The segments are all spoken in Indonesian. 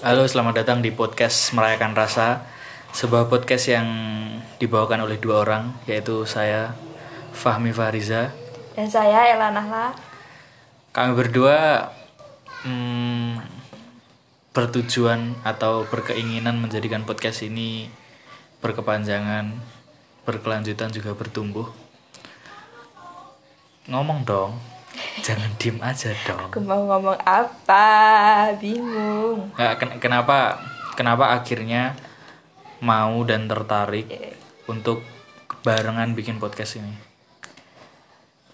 Halo, selamat datang di podcast Merayakan Rasa Sebuah podcast yang dibawakan oleh dua orang Yaitu saya, Fahmi Fahriza Dan saya Ella Nahla. Kami berdua hmm, bertujuan atau berkeinginan menjadikan podcast ini berkepanjangan, berkelanjutan juga bertumbuh Ngomong dong, jangan diem aja dong Aku mau ngomong apa? Bingung. Nah, ken- kenapa kenapa akhirnya mau dan tertarik untuk barengan bikin podcast ini?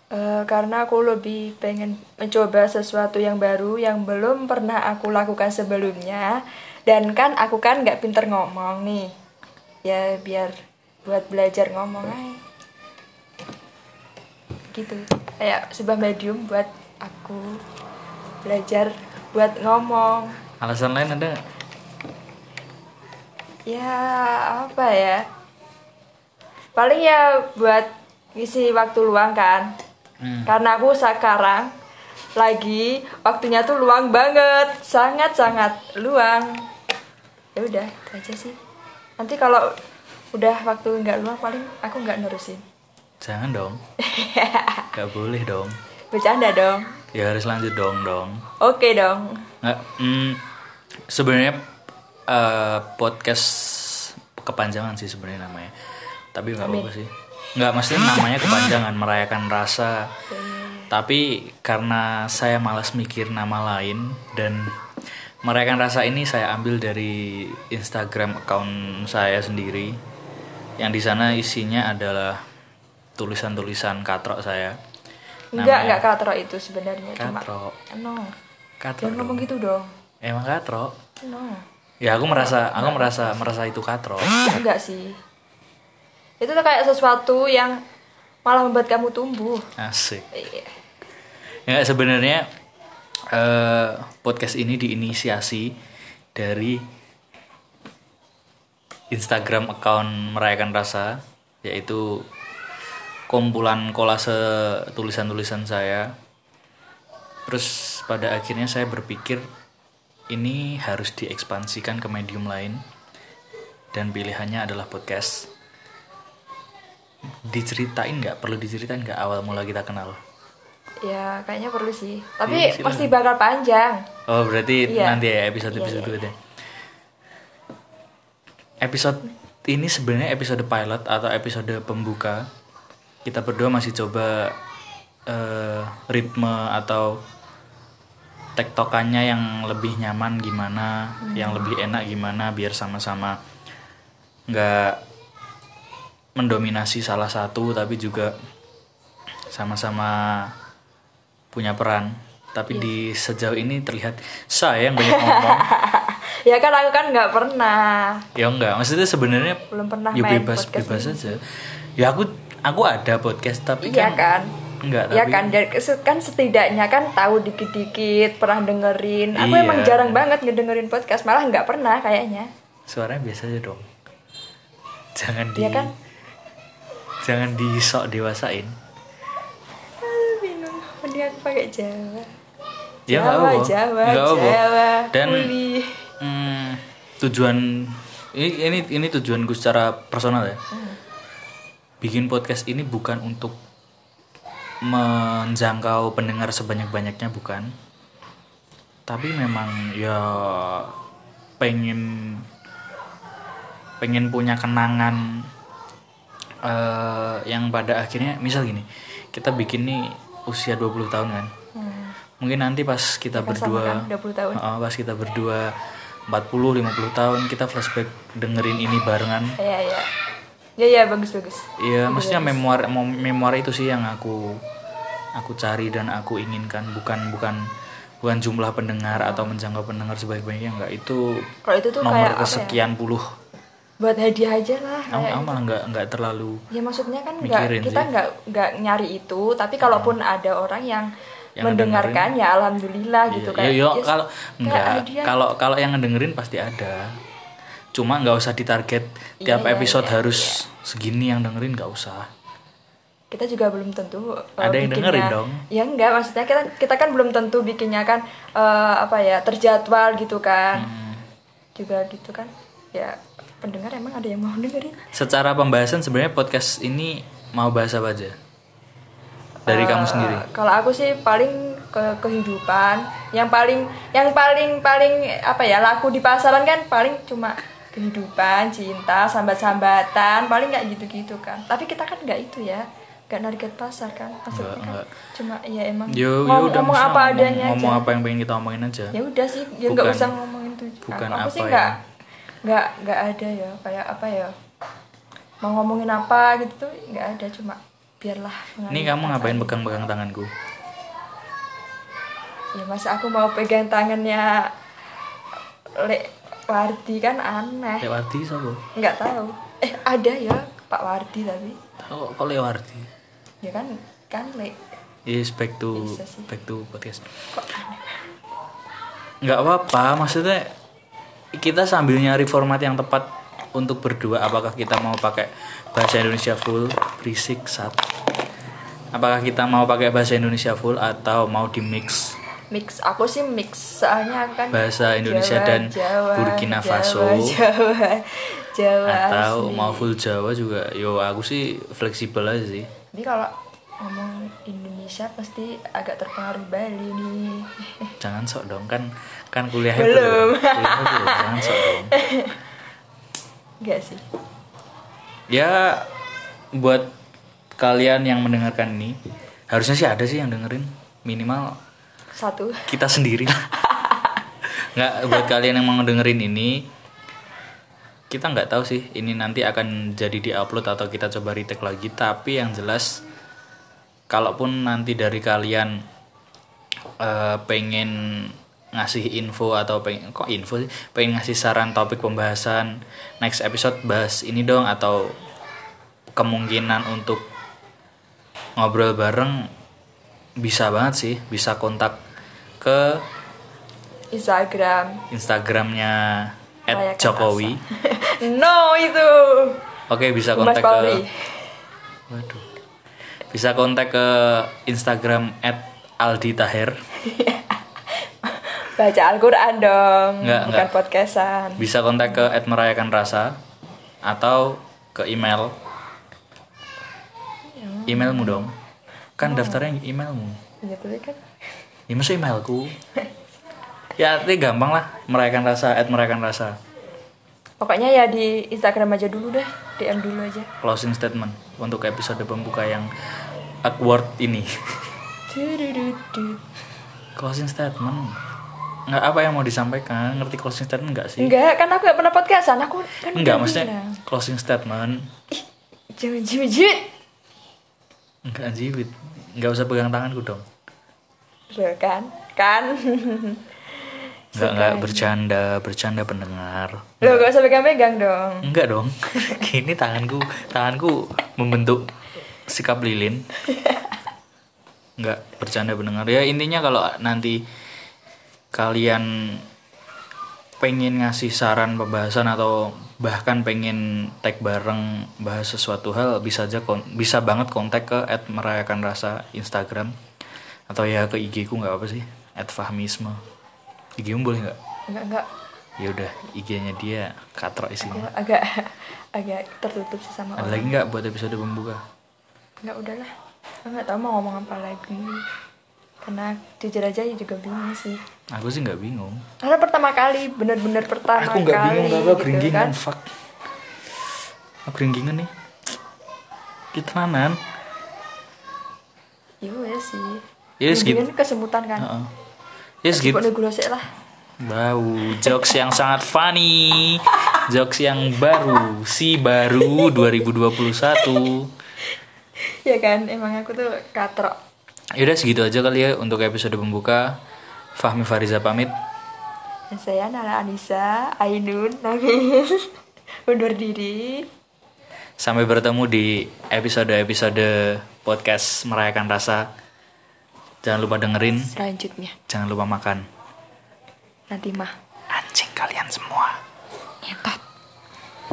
Eh, karena aku lebih pengen mencoba sesuatu yang baru yang belum pernah aku lakukan sebelumnya. Dan kan aku kan nggak pinter ngomong nih. Ya biar buat belajar ngomong aja. Gitu. Kayak sebuah medium buat aku belajar buat ngomong. Alasan lain ada nggak? Ya apa ya? Paling ya buat ngisi waktu luang kan. Hmm. Karena aku sekarang lagi waktunya tuh luang banget, sangat sangat luang. Ya udah, itu aja sih. Nanti kalau udah waktu nggak luang paling aku nggak nerusin. Jangan dong. Gak boleh dong. Bercanda dong. Ya harus lanjut dong dong. Oke dong. Nggak, hmm, sebenarnya eh, podcast kepanjangan sih sebenarnya namanya. Tapi nggak apa-apa sih. Nggak maksudnya namanya kepanjangan merayakan rasa. Tapi karena saya malas mikir nama lain dan merayakan rasa ini saya ambil dari Instagram account saya sendiri. Yang di sana isinya adalah tulisan-tulisan katrok saya. Enggak, enggak katro itu sebenarnya cuma Katrok. no. Katrok. Jangan ngomong gitu dong. Emang katrok? No. Ya aku merasa, aku merasa merasa itu katro. enggak sih itu tuh kayak sesuatu yang malah membuat kamu tumbuh Asik. Iya. Ya sebenarnya eh, podcast ini diinisiasi dari Instagram account merayakan rasa yaitu kumpulan kolase tulisan-tulisan saya. Terus pada akhirnya saya berpikir ini harus diekspansikan ke medium lain dan pilihannya adalah podcast. Diceritain nggak? Perlu diceritain nggak awal mula kita kenal? ya kayaknya perlu sih tapi Iya, silakan. pasti bakal panjang Oh berarti Iya. nanti ya episode episode Iya, iya. berikutnya. Episode ini sebenarnya episode pilot atau episode pembuka. Kita berdua masih coba eh, ritme atau tektokannya yang lebih nyaman gimana, yang Hmm. lebih enak gimana, biar sama-sama nggak mendominasi salah satu tapi juga sama-sama punya peran Iya. tapi di sejauh ini terlihat saya yang banyak ngomong ya kan aku kan nggak pernah ya enggak maksudnya sebenarnya belum pernah ya main bebas podcast bebas aja ya aku aku ada podcast tapi iya kan kan enggak Iya tapi kan, dan se- kan setidaknya kan tahu dikit-dikit, pernah dengerin. Aku Iya. emang jarang banget ngedengerin podcast, malah nggak pernah kayaknya. suaranya biasa aja dong jangan di Iya kan? jangan disok dewasain Ah, bingung, mending aku pakai Jawa. ya enggak Jawa, apa-apa. Jawa, Enggak apa-apa. Jawa, dan pulih. hmm, tujuan ini ini ini tujuanku secara personal ya bikin podcast ini bukan untuk menjangkau pendengar sebanyak-banyaknya bukan tapi memang ya pengen pengen punya kenangan eh, yang pada akhirnya misal gini kita bikin nih usia 20 tahun kan mungkin nanti pas kita Kan Hmm, sama kan, berdua 20 tahun. Heeh, pas kita berdua 40 50 tahun kita flashback dengerin ini barengan Iya, iya. Ya, ya, bagus-bagus. Iya, maksudnya memoir mem- memoir itu sih yang aku aku cari dan aku inginkan bukan bukan bukan jumlah pendengar atau menjangkau pendengar sebaik-baiknya enggak itu Kalau itu tuh nomor kayak apa ya? kesekian puluh. buat hadiah aja lah Aku, kayak- gitu. aku malah enggak enggak terlalu ya maksudnya kan nggak Mikirin kita sih. Hmm. nggak nggak nyari itu tapi kalaupun ada orang yang, Yang mendengarkan ya alhamdulillah gitu Iya, kayak iya, yes, kalau enggak hadiah. kalau kalau yang ngedengerin pasti ada. Cuma nggak usah ditarget tiap Iya, iya, episode iya, harus segini yang dengerin nggak usah. kita juga belum tentu uh, Ada yang bikinnya- dengerin dong. ya enggak Hmm. maksudnya kita kita kan belum tentu bikinnya kan uh, apa ya terjadwal gitu kan juga gitu kan ya pendengar emang ada yang mau dengerin Secara pembahasan sebenarnya podcast ini mau bahas apa aja? Dari Eh, kamu sendiri. kalau aku sih paling ke kehidupan yang paling yang paling paling apa ya laku di pasaran kan paling cuma kehidupan cinta sambat-sambatan paling nggak gitu-gitu kan tapi kita kan nggak itu ya nggak target pasar kan Nggak, maksudnya kan nggak. cuma ya emang Yo, yo ngom- udah ngomong maksudnya apa adanya ngomong, ngomong aja apa yang pengen kita omongin aja. ya udah sih ya nggak Bukan- usah ngomongin itu bukan aku sih apa nggak ya. nggak nggak ada ya kayak apa ya mau ngomongin apa gitu tuh nggak ada cuma biarlah Ini mengalir kamu ngapain perasaan. pegang-pegang tanganku? ya masa aku mau pegang tangannya Lek Wardi kan aneh Lewarti siapa? nggak tahu eh ada ya Pak Wardi tapi Tahu kok Lewarti? ya kan kan Lek Iya, Yes, back to Bisa sih. back to podcast. kok aneh nggak apa-apa maksudnya kita sambil nyari format yang tepat untuk berdua apakah kita mau pakai bahasa Indonesia full berisik sat apakah kita mau pakai bahasa Indonesia full atau mau di mix mix aku sih mix soalnya aku kan Bahasa Indonesia Jawa, dan Jawa, Burkina Jawa, Faso. Jawa Jawa atau asli. mau full Jawa juga yo aku sih fleksibel aja sih Tapi kalau ngomong Indonesia pasti agak terpengaruh Bali nih. jangan sok dong kan kan kuliahnya Belum. Kuliahnya belum, jangan sok dong Enggak sih. ya buat kalian yang mendengarkan ini harusnya sih ada sih yang dengerin minimal Satu. kita sendiri nggak buat kalian yang mau dengerin ini kita nggak tahu sih ini nanti akan jadi diupload atau kita coba retake lagi tapi yang jelas kalaupun nanti dari kalian eh, pengen ngasih info atau pengen kok info sih pengen ngasih saran topik pembahasan next episode bahas ini dong atau kemungkinan untuk ngobrol bareng bisa banget sih bisa kontak ke Instagram. Instagramnya Rayakan @jokowi no itu. oke bisa Mas kontak ke Polri. waduh bisa kontak ke Instagram @alditaher Baca Al-Qur'an dong, Enggak, bukan enggak. podcastan. bisa kontak ke @merayakanrasa atau ke email emailmu dong kan daftarnya emailmu Ya tapi kan ya masa emailku ya ini gampang lah merayakan rasa at merayakan rasa pokoknya ya di Instagram aja dulu deh, DM dulu aja. closing statement untuk episode pembuka yang awkward ini Tudududud. closing statement nggak apa yang mau disampaikan ngerti closing statement nggak sih Enggak, kan aku gak pernah podcastan. Aku kan udah nggak Iya. maksudnya bilang. closing statement Ih, Jangan jiwit-jiwit. nggak jiwit nggak usah pegang tanganku dong Loh, kan? Kan. nggak nggak bercanda bercanda pendengar Loh, gak usah pegang-pegang dong. nggak dong ini tanganku tanganku membentuk sikap lilin nggak bercanda pendengar ya intinya kalau nanti kalian pengen ngasih saran pembahasan atau bahkan pengen tag bareng bahas sesuatu hal bisa aja kon- bisa banget kontak ke at merayakan rasa Instagram atau ya ke IG ku nggak apa sih at fahmisme IG mu boleh nggak Enggak, enggak. ya udah IG-nya dia katrok isinya Ya, agak agak tertutup sih sama Ada orang. lagi nggak buat episode pembuka? Enggak udahlah. Aku enggak tahu mau ngomong apa lagi. Karena jujur aja ya juga bingung sih. Aku sih nggak bingung. Karena pertama kali, bener-bener pertama kali. gitu kan. fuck. Aku gringgingan nih. Kita nanan. Iya wes sih. Iya, segitu. Mendingan kesemutan kan. Heeh. Ya Gitu. segitu. Pokoknya gula sik lah. Bau jokes yang sangat funny. Jokes yang baru, si baru 2021. Ya kan, emang aku tuh katrok. Yaudah segitu aja kali ya untuk episode pembuka. Fahmi Fariza pamit. Dan saya Nala Anissa, Ainun, Nabil. Undur diri. Sampai bertemu di episode-episode podcast merayakan rasa. Jangan lupa dengerin, Selanjutnya, jangan lupa makan. nanti mah. anjing kalian semua.